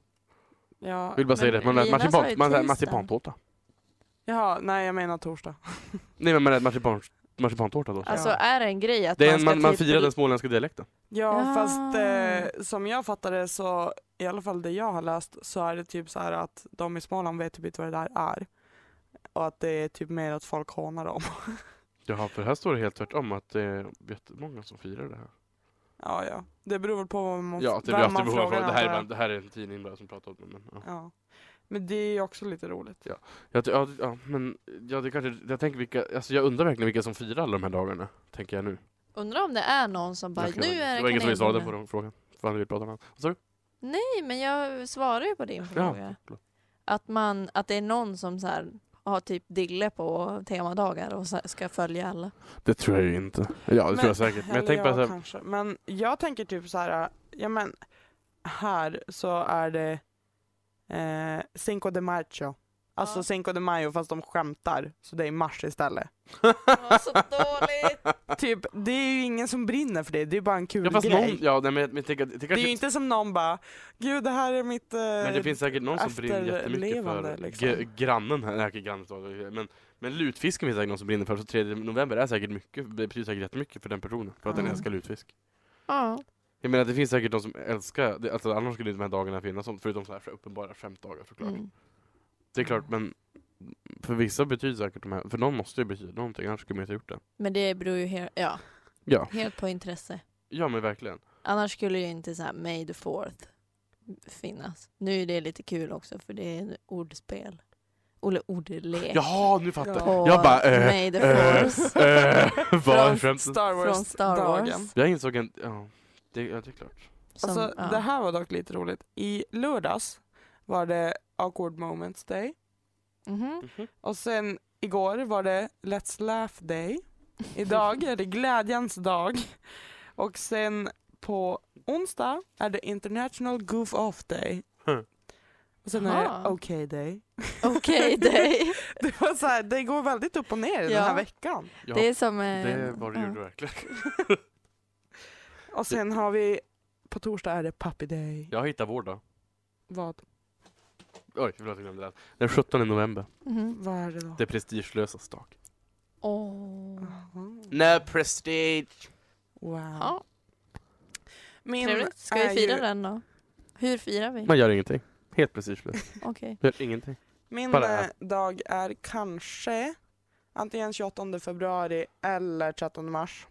Ja,
Jag vill bara säga
Men
det, man
Lina
lät
sa ju
marsipan, man lät
tisdag.
marsipantårta.
jaha, nej jag menar torsdag.
Nej men man lät marsipan, marsipantårta då.
Alltså
Ja.
är det en grej att
Det är
man
en,
ska
man, man
typ-
firar den småländska dialekten.
Ja,
Ja.
fast eh, som jag fattar det så, i alla fall det jag har läst, så är det typ så här att de i Småland vet typ inte vad det där är. Och att det är typ mer att folk hånar dem.
Jaha, för här står det helt tvärtom att det är jättemånga som firar det här.
Ja, ja. Det beror väl på vad man,
Ja, att det
vem
blir alltid
man
behov av
frågar.
det. Här,
antar
är-
jag.
det här är en tidning bara som pratar om det. Men, ja.
Ja. Men det är ju också lite roligt.
Jag, ty- ja, ja, men ja, det kanske, jag, tänker vilka, alltså jag undrar verkligen vilka som firar alla de här dagarna, tänker jag nu.
Undrar om det är någon som bara,
Jag kan-
nu är
det var ingen som ville svara
kanelbulle."
på den frågan. Fan, vi pratar om annat. Vad sa du?
Nej, men jag svarar ju på din fråga.
förlåt.
Att, man, att det är någon som så här, har typ dille på temadagar och så här, ska följa alla.
Det tror jag ju inte. Ja, det tror jag säkert. Men jag
eller
tänker bara
ja,
så här,
kanske. Men jag tänker typ så här, ja men här så är det eh, Cinco de Macho. Alltså
Ja.
Cinco de Mayo fast de skämtar så det är i
<laughs>
mars istället.
Ja, så dåligt!
Typ, det är ju ingen som brinner för det, det är bara en kul
ja, fast
grej.
någon, ja, nej, men jag, men jag tänker att det
det är
kanske
ju inte som någon bara, gud det här är mitt... Eh,
Men det finns säkert någon som brinner jättemycket för
efterlevande, liksom.
g- grannen här, nej, okej, grannen står- men, men lutfisken finns säkert någon som brinner för, så 3 november är säkert mycket, det betyder säkert jättemycket för den personen, för att den
Mm.
älskar lutfisk.
<laughs> Ja.
Jag menar det finns säkert de som älskar, det, alltså, annars skulle inte de här dagarna finnas, som- förutom så här uppenbara skämtdagar såklart.
Mm.
Det är klart, men för vissa betyder säkert de här, för någon måste ju betyda någonting, annars skulle man inte ha gjort det.
Men det beror ju he- ja,
Ja.
helt på intresse.
Ja men verkligen.
Annars skulle ju inte så här May the fourth finnas. Nu är det lite kul också för det är en ordspel. Eller ordlek.
Jaha, nu fattar jag!
På
Jag bara, eh,
May the
eh,
fourth.
eh, vad är
Från
skämtet?
Star
Från Star
Wars-dagen.
Wars.
Jag insåg en, ja, det, ja, det är klart.
Som,
alltså,
ja.
Det här var dock lite roligt. I lördags var det awkward moments day.
Mhm.
Och sen igår var det Let's Laugh Day. Idag är det glädjens dag. Och sen på onsdag är det International Goof Off Day.
Huh.
Och sen är
Aha.
det OK Day. <laughs>
Okej, dig.
Det, var så här, det går väldigt upp och ner i
Ja.
den här veckan.
Ja,
Det är som... eh,
det var det
ja.
ju verkligen. <laughs>
Och sen har vi på torsdag är det Puppy Day.
Jag hittar vår dag.
Vad,
Oj, förlåt jag glömde det. Den 17 november.
Mhm.
vad är det då?
Det prestigelösas dag.
Åh.
Aha.
No prestige!
Wow.
Ja,
Min
trevligt. Ska vi
är
fira
ju-
den då? Hur firar vi?
Man gör ingenting. Helt prestigelöst.
<laughs>
Okej.
Gör ingenting.
<laughs>
Min
Bara-
eh, dag är kanske antingen 28 februari eller 13 mars.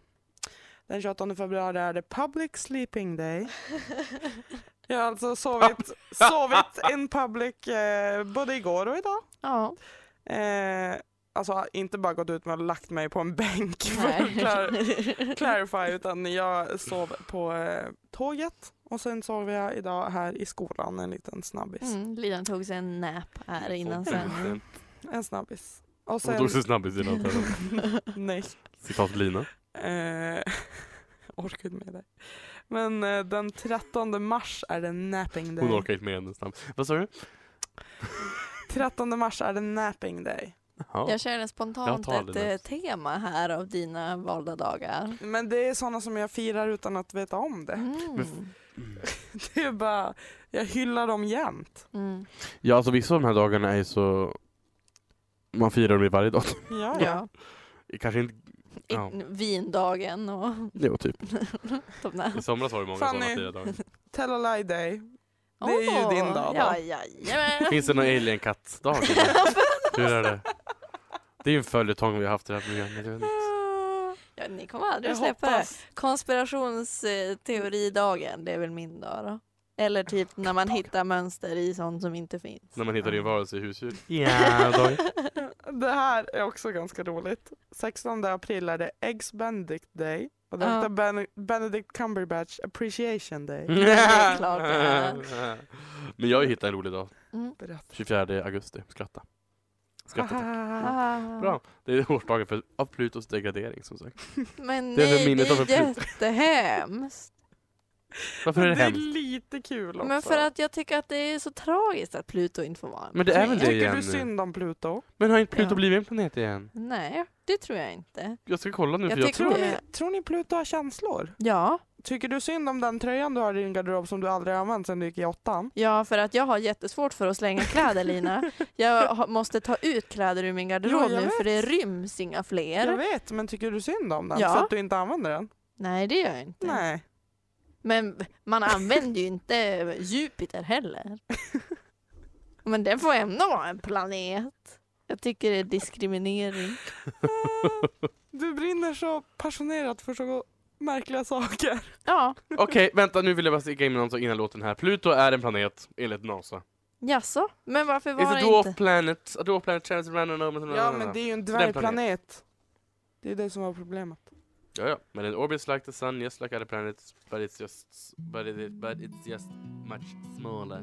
Den 28 februari är det public sleeping day. Jag har alltså sovit, sovit in public eh, både igår och idag.
Ja.
Eh, alltså, inte bara gått ut med och lagt mig på en bänk <laughs> för att
Nej.
clar- clarify utan jag sov på eh, tåget och sen sov jag idag här i skolan en liten snabbis.
<laughs> Mm, Lidan tog sig en nap här innan sen.
En snabbis. Och
Hon
sen,
tog sig snabbis innan sen.
<laughs> nej,
Citat Lina.
eh, <laughs> orkar inte med det. Men eh, den 13 mars är det napping
Hon
day.
orkar inte med en snabb. Vad sa du?
13 mars är det napping day.
Ja.
Jag känner spontant
Jag tar
ett
Linas.
eh, tema här av dina valda dagar.
Men det är sådana som jag firar utan att veta om det.
Mm.
<laughs> Det är bara, jag hyllar dem jämt.
Mm.
ja, alltså vissa av de här dagarna är ju så... Man firar dem ju varje dag. <laughs>
Ja, ja.
Ja.
Kanske inte...
I,
Ja.
Vindagen och
Jo, typ.
de där.
I somras var det många
Fanny.
sådana fyra
<laughs>
dagar.
Tell a lie day. Det är ju din dag då.
Ja, jajamän.
Finns det någon alien
<laughs>
katt-dag? Hur är det? Det är ju en följetong vi har haft i det här programmet. jag vet inte.
Ja, ni kommer aldrig
Jag
att släppa det.
hoppas.
Konspirationsteoridagen, det är väl min dag då. Eller
Ah,
typ när man hittar mönster i sånt som inte finns.
När man hittar din varelse i husdjur. Ja, dag.
<laughs> Det här är också ganska roligt. 16 april är det Eggs Benedict Day. Och det
Ja.
heter ben- Benedict Cumberbatch Appreciation Day.
Mm.
är klart det är.
<laughs> Men jag har ju hittat en rolig dag.
<laughs> Mm.
Berätta.
24 augusti. Skratta. Skratta tack.
Ah.
Bra. Det är årsdagen för av Plutos degradering som sagt.
Men
Det är väl
nej, det
minnet av
är
en flut.
jättehemskt.
Varför är det
det är
hemskt?
lite kul också.
Men för att jag tycker att det är så tragiskt att Pluto inte får vara en
Men det är väl
planet.
det
Tycker
igen
du
nu.
synd om Pluto?
Men har inte Pluto
Ja.
blivit en planet igen?
Nej, det tror jag inte.
Jag ska kolla nu
Jag
för jag
tycker
tror...
det.
Tror ni, tror ni Pluto har känslor?
Ja,
Tycker du synd om den tröjan du har i din garderob som du aldrig har använt sedan du gick i åttan?
ja, för att jag har jättesvårt för att slänga kläder Lina. Jag ha- måste ta ut kläder ur min garderob
Jo, jag
nu för det
vet.
ryms inga
Jag
fler.
vet, men tycker du synd om den?
Ja.
För att du inte använder den?
Nej, det gör jag inte.
Nej.
Men man använder ju inte Jupiter heller. Men den får ändå vara en planet. Jag tycker det är diskriminering.
Du brinner så passionerat för så märkliga <laughs> saker.
Ja,
Okej, vänta nu vill jag bara sticka in någon sak innan låten här. Pluto är en planet enligt NASA.
jaså? Men varför var
Is
det
a dwarf
inte?
planet, a dwarf planet challenge random number...
Ja, men det är ju en
planeten.
dvärgplanet. Det är det som var problemet.
Ja, ja. Men it orbits like the sun, just like other planets, but it's just... But, it, but it's just much smaller.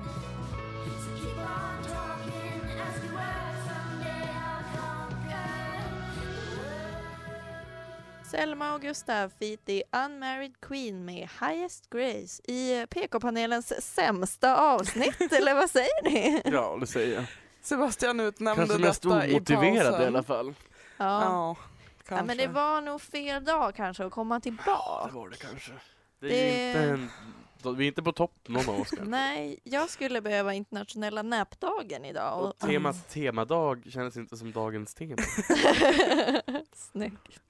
Keep on talking as you were. Someday I'll conquer the world.
Selma och Gustav feat The Unmarried Queen med Highest Grace i PK-panelens sämsta avsnitt, eller vad säger ni?
Ja, det säger jag.
Sebastian utnämnde
Kanske mest
detta i
omotiverad
pausen.
i alla fall.
Ja.
Ja, kanske.
ja, men det var nog fel dag kanske att komma
Det
tillbaka.
var det kanske. Det är
Det-
ju inte en... Vi är inte på topp någon av oss kanske.
Nej, jag skulle behöva internationella näpdagen idag.
Och <laughs> temat temadag kändes inte som dagens tema.
<laughs>
<laughs>
Snyggt.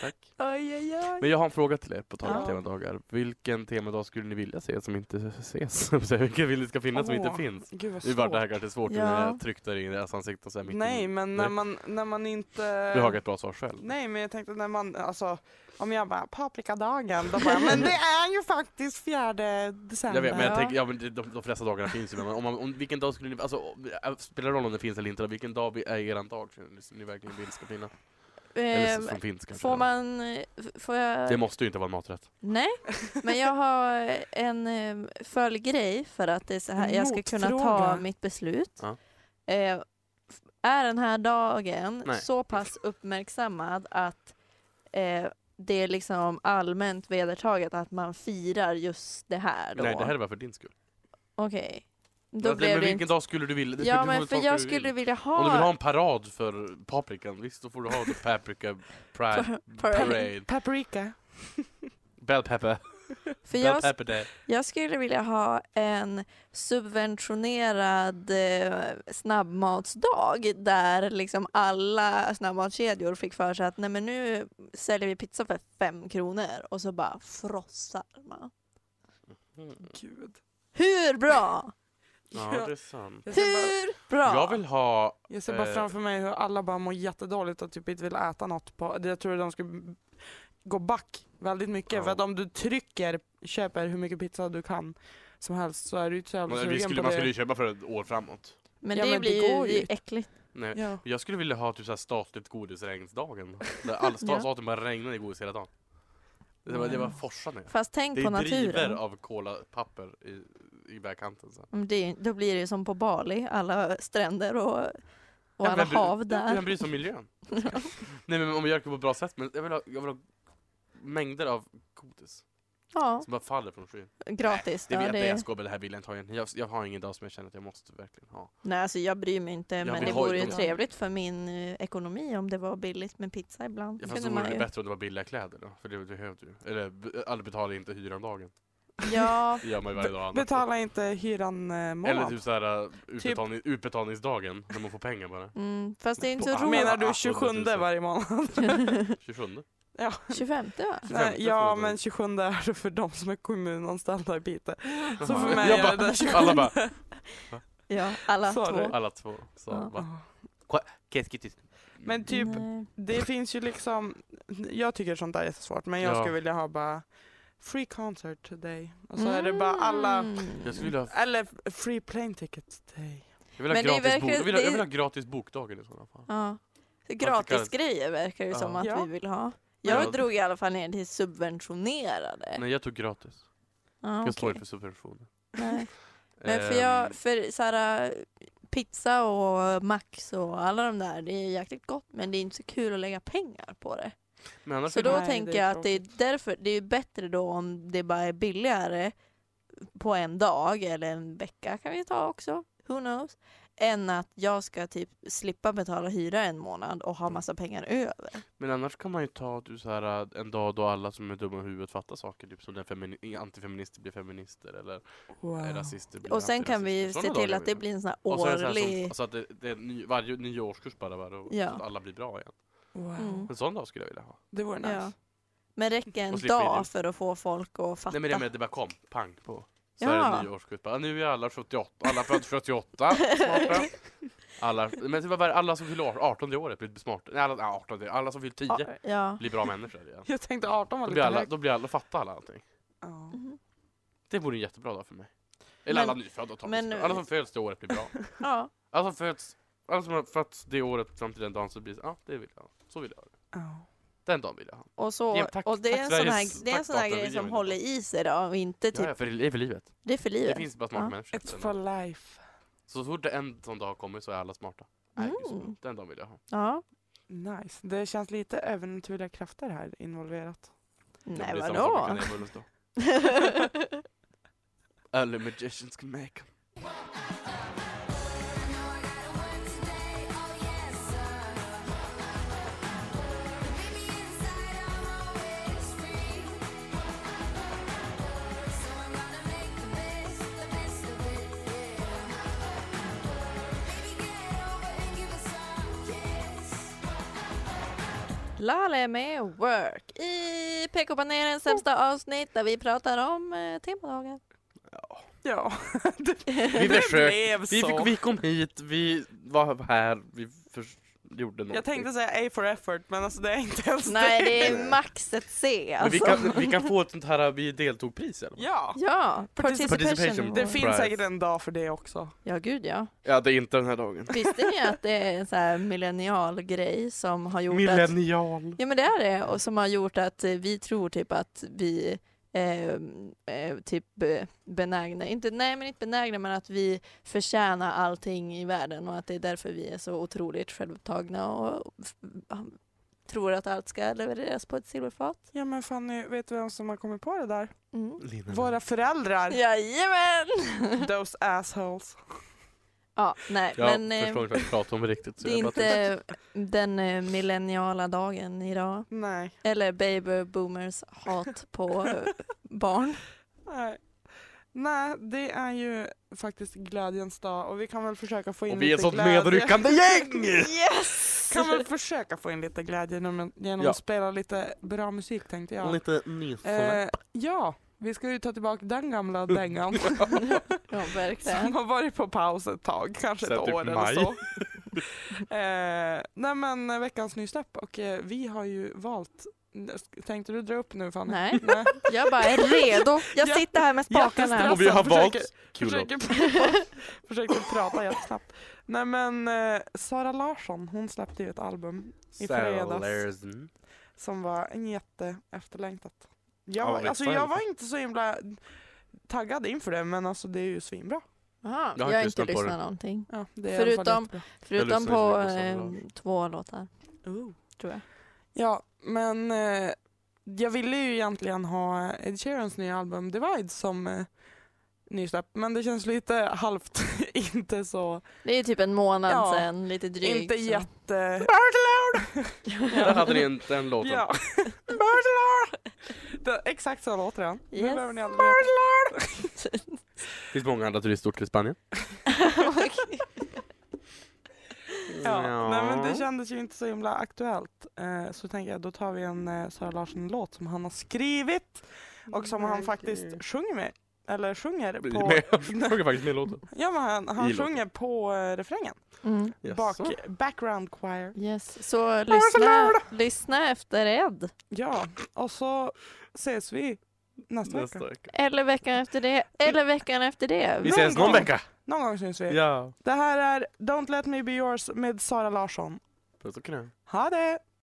Tack.
Oj, oj, oj.
Men jag har en fråga till er på tal om
Ja.
temadagar. Vilken temadag skulle ni vilja se som inte ses? <laughs> Vilken vill ni ska finnas som inte
Åh,
finns?
Gud vad
Nu vart det här
svårt.
kanske svårt
Ja.
när jag tryckte i deras ansikte och så här mitt
Nej,
i.
men när man, när man inte...
Du har ett bra svar själv.
Nej, men jag tänkte när man, alltså om jag bara paprikadagen, då bara,
<laughs>
men det är ju faktiskt fjärde december.
Jag vet, men jag
Ja.
tänker, ja, men det- de, de flesta dagarna finns ju, men om, man, om, vilken dag skulle ni, alltså, om- äh, spelar det roll om det finns eller inte, vilken dag vi- är eran dag känner ni, som ni verkligen vill ska finnas? Eller
Ehm,
som finns kanske?
Får man... eh, f- Får jag...
Det måste ju inte vara en maträtt.
Nej, men jag har eh, en eh, följdgrej för att det är så här,
En
jag ska kunna ta
motfråga.
mitt beslut.
Ja.
Eh, f- är den här dagen
Nej.
så pass uppmärksammad att eh, det är liksom allmänt vedertaget att man firar just det här då?
Nej, det här är bara för din skull.
Okej.
Men,
Då
men
blev det
vilken
inte...
dag skulle du vilja?
Ja,
du får
men
väl
för
ta
jag
hur du vill.
skulle vilja ha...
Om du vill ha en parad för paprikan, visst då får du ha the paprika pride
Parade.
parade.
Paprika.
Bell pepper.
För jag,
per day.
jag skulle vilja ha en subventionerad eh, snabbmatsdag där liksom alla snabbmatskedjor fick för sig att nej men nu säljer vi pizza för fem kronor och så bara frossar man.
Gud.
Hur bra?
Ja, det är sant.
Jag ser bara,
Hur bra?
Jag vill ha...
jag ser bara
Eh.
framför mig hur alla bara mår jättedåligt och typ inte vill äta något. På, jag tror de skulle gå back väldigt mycket.
Ja.
För att om du trycker, köper hur mycket pizza du kan som helst så är du inte så jävla
Man
sugen
skulle,
på
man
det.
skulle ju köpa för ett år framåt.
Men
Ja,
det
men det
blir
går ju
ju, det är ju
inte.
äckligt.
Nej.
Ja.
Jag skulle vilja ha typ så här statligt <laughs> godisregnsdagen. Där all sta-
Ja.
staten bara regnade i godis hela dagen. Det var, det var forsar ner.
Fast tänk
Det
på
är driver
naturen.
av kolapapper i, i vägkanten. Så. här.
Mm, Det, då blir det som på Bali, alla stränder och, och alla
vem bryr-
hav
Vem
där.
bryr sig om miljön? Nej men om jag gör det på ett bra sätt, men jag vill ha, jag vill ha mängder av godis
Ja,
som bara faller från skyn.
gratis.
Det
ja,
vet jag,
det-
jag skojar, men det här vill jag inte ha igen. Jag, jag har ingen dag som jag känner att jag måste verkligen ha.
Nej, alltså jag bryr mig inte, men
vill
det
ha
vore ju
utomlands.
trevligt för min eh, ekonomi om det var billigt med pizza ibland.
Ja,
Då
fast då
kunde
vore
man
det
ju-
bättre om det var billiga kläder då, för det behövde du Eller b- alla betalar inte hyran dagen.
Ja,
Det gör man ju varje dag annars.
Betala inte hyran eh, månad.
Eller typ såhär uh, utbetalning, utbetalningsdagen, när man får pengar bara.
mm, fast det är inte så
På-
Menar
roligt.
du 27 varje månad? <laughs>
<laughs>
27?
25 va?
Nej,
25,
ja,
förlåt.
men 27 är det för de som är kommunanställda i Piteå. Så
<laughs>
för
Jaha.
mig
Jag
är det den 27.
Alla bara,
<laughs> Ja, alla
Sa du?
två.
alla två. Så,
Ja.
bara,
Men typ,
Nej.
det finns ju liksom, jag tycker sånt där är jättesvårt, men jag
Ja.
skulle vilja ha bara free concert today. Och så är det bara alla,
Mm.
jag skulle vilja ha
eller f- free plane ticket today.
Jag vill, ha
Men det är
gratis bok.
verkligen-
Jag, vill ha,
det är-
jag vill ha gratis bokdagen i sådana fall.
Ja. Gratisgrejer verkar det
Ja.
som att
Ja.
vi vill ha.
Ja.
Jag drog i alla fall ner till subventionerade.
Nej jag tog gratis.
Ja,
Jag står
okej.
inte för subventioner.
Nej. Men för,
Ehm,
jag, för så här, pizza och Max och alla de där, det är jäkligt gott men det är inte så kul att lägga pengar på det.
men annars
Så då
vill
Nej,
tänker
det är
jag att det är därför, det är ju bättre då om det bara är billigare på en dag eller en vecka kan vi ta också, who knows, än att jag ska typ slippa betala hyra en månad och ha massa pengar över.
jag- men annars kan man ju ta du, så här, äh, en dag då alla som är dumma i huvudet fattar saker. Typ som när femini- antifeminister blir feminister eller
Wow.
rasister blir
Och sen kan vi
antirasister.
se
Sådana
till
dagar
att det
vill
blir en sån här
jag. Och så är det så här som-
årlig...
alltså att det, det är en ny, varje ny årskurs bara, bara och
Ja.
så att alla blir bra igen.
Wow.
Mm.
En sån dag skulle jag vilja ha.
Det vore nice.
Ja. Men räcker en
Och slipper
dag
idén.
för att få folk att fatta?
Nej men det med att det bara kom, pang på. Så
Ja.
är det en ny årskurs. Bara, nu är alla 78, alla född 78, smarta. Alla, men typ bara alla som fyller år- 18 i året blir smarta. Nej, alla, nej, 18, alla som fyller 10
Ja.
blir bra människor igen.
Jag tänkte 18 var
Då blir
lite
alla,
högt.
då blir alla, fattar alla allting.
Ja.
Mhm.
Det vore en jättebra dag för mig. Eller
Men-
alla nyfödda tar
men-
men, Alla som föds det året blir bra.
ja.
Alla som föds, alla som har fötts det året fram till den dagen så blir det, ja det vill jag ha. Så vill jag ha det.
Ja.
Den dagen vill jag ha.
Och, så,
Ja, tack-
och det
tack
är en sån
Sveriges-
här, det är en
tack
sån här
staten,
grej
vi
som
gör
håller i sig då och inte
Ja,
typ,
ja, för det är för livet.
det är för
Det
livet.
finns bara smarta
Ja.
människor.
It's for life.
Så fort en sån dag har kommit så är alla smarta. Nej, gud, så
Mm.
bra. Den dagen vill jag ha.
Ja.
Nice. Det känns lite övernaturliga krafter här involverat.
Nej
blir samma sak
vadå? <laughs>
med kanelbullens dag. Only magicians can make 'em.
oh
Lale är med och Work i PK-panelens
Mm.
sämsta avsnitt där vi pratar om eh, temadagar.
<laughs>
Ja, <laughs>
Vi försökte.
blev
Vi,
så.
fick, vi kom hit, vi var här, vi förs- gjorde någonting.
Jag tänkte säga A for effort, men alltså det är inte ens
<laughs> Nej det
Nej.
är max ett C
Men vi,
alltså.
kan, vi kan få ett sånt här, vi deltog-pris eller?
Ja,
Ja,
Participation.
participation.
Det
det
award.
fin-
finns
Prize.
säkert en dag för det också.
Ja gud ja.
Ja, det är inte den här dagen.
Visste ni att det är en sån här millennial-grej som har gjort att
Millennial.
Ja men det är det och som har gjort att eh, vi tror typ att vi eh, eh, typ eh, benägna, inte, nej men inte benägna men att vi förtjänar allting i världen och att det är därför vi är så otroligt självupptagna och f- tror att allt ska levereras på ett silverfat.
Ja men Fanny, vet du vem som har kommit på det där?
Mm.
Våra föräldrar.
<laughs> Jajamän!
<laughs> Those assholes.
Ja, nej
Jag
men eh,
förstår inte vad jag pratar om riktigt. Så
det är
jag bara tänkte-
inte den eh, millenniala dagen idag.
Nej.
Eller baby boomers hat på eh, barn.
Nej. Nej, det är ju faktiskt glädjens dag och vi kan väl försöka få in
Och vi är ett
lite
sånt
glädje.
medryckande gäng! <laughs>
<laughs> Yes!
<laughs> Kan väl försöka få in lite glädje genom, genom
Ja.
att spela lite bra musik tänkte jag.
Lite nysande.
Eh, ja, vi ska ju ta tillbaka
<laughs>
den gamla dängan <laughs>
Ja,
som
verkligen.
har varit på paus ett tag, kanske
Sen
ett
typ
år
maj. <laughs>
eller så. eh, nej men eh, veckans nysläpp och eh, vi har ju valt, tänkte du dra upp nu Fanny?
Nej. <laughs> Jag bara är redo. Jag
Ja.
sitter här med spakarna.
Jättestressad.
Och vi har
alltså,
valt
försöker-
kulor.
Försöker, prata- <laughs> försökte prata jättesnabbt. Nej men eh, Sara Larsson, hon släppte ju ett album i fredags. som var en jätte efterlängtat.
Ja,
Jag,
vad
alltså,
excited.
jag var inte så himla taggad inför det men alltså det är ju svinbra.
Aha,
Jag
jag
har
har
inte
inte
lyssnat på
lyssnat
det.
någonting.
Ja, det är i alla fall
Förutom-
jättebra.
Förutom
lyssnar inte
på
på
eh,
Sandra.
två låtar,
Ooh.
tror jag.
Ja men eh, jag ville ju egentligen ha Ed Sheerans nya album Divide som eh, nysläpp men det känns lite halvt <laughs> inte så,
Det är typ en månad
Ja.
sedan, lite drygt.
inte
så.
jätte...
Där
<laughs>
hade ni en, den låten.
<laughs> Ja. <laughs> Burdlar! Det- Exakt så låter den. Nu
Yes.
behöver ni aldrig veta.
Finns många andra turistorter i Spanien.
Okej.
<laughs> Ja. Nej, men det kändes ju inte så himla aktuellt. Eh, så tänker jag, då tar vi en eh, Sara Larsson-låt som han har skrivit och som han faktiskt sjunger med. Eller sjunger
Blir
på...
med. Jag sjunger faktiskt med i låten.
Ja, men han, han
I låten.
sjunger på eh, refrängen.
mm.
Bak, background choir.
Yes, så lyssna, lyssna efter Ed.
Ja, och så ses vi nästa,
Nästa
vecka.
vecka.
Eller veckan efter det. Eller veckan efter det.
Vi ses
gång.
någon vecka!
Någon gång syns vi.
Ja.
Det här är Don't Let Me Be Yours med Sara Larsson.
Puss och kram.
Ha det!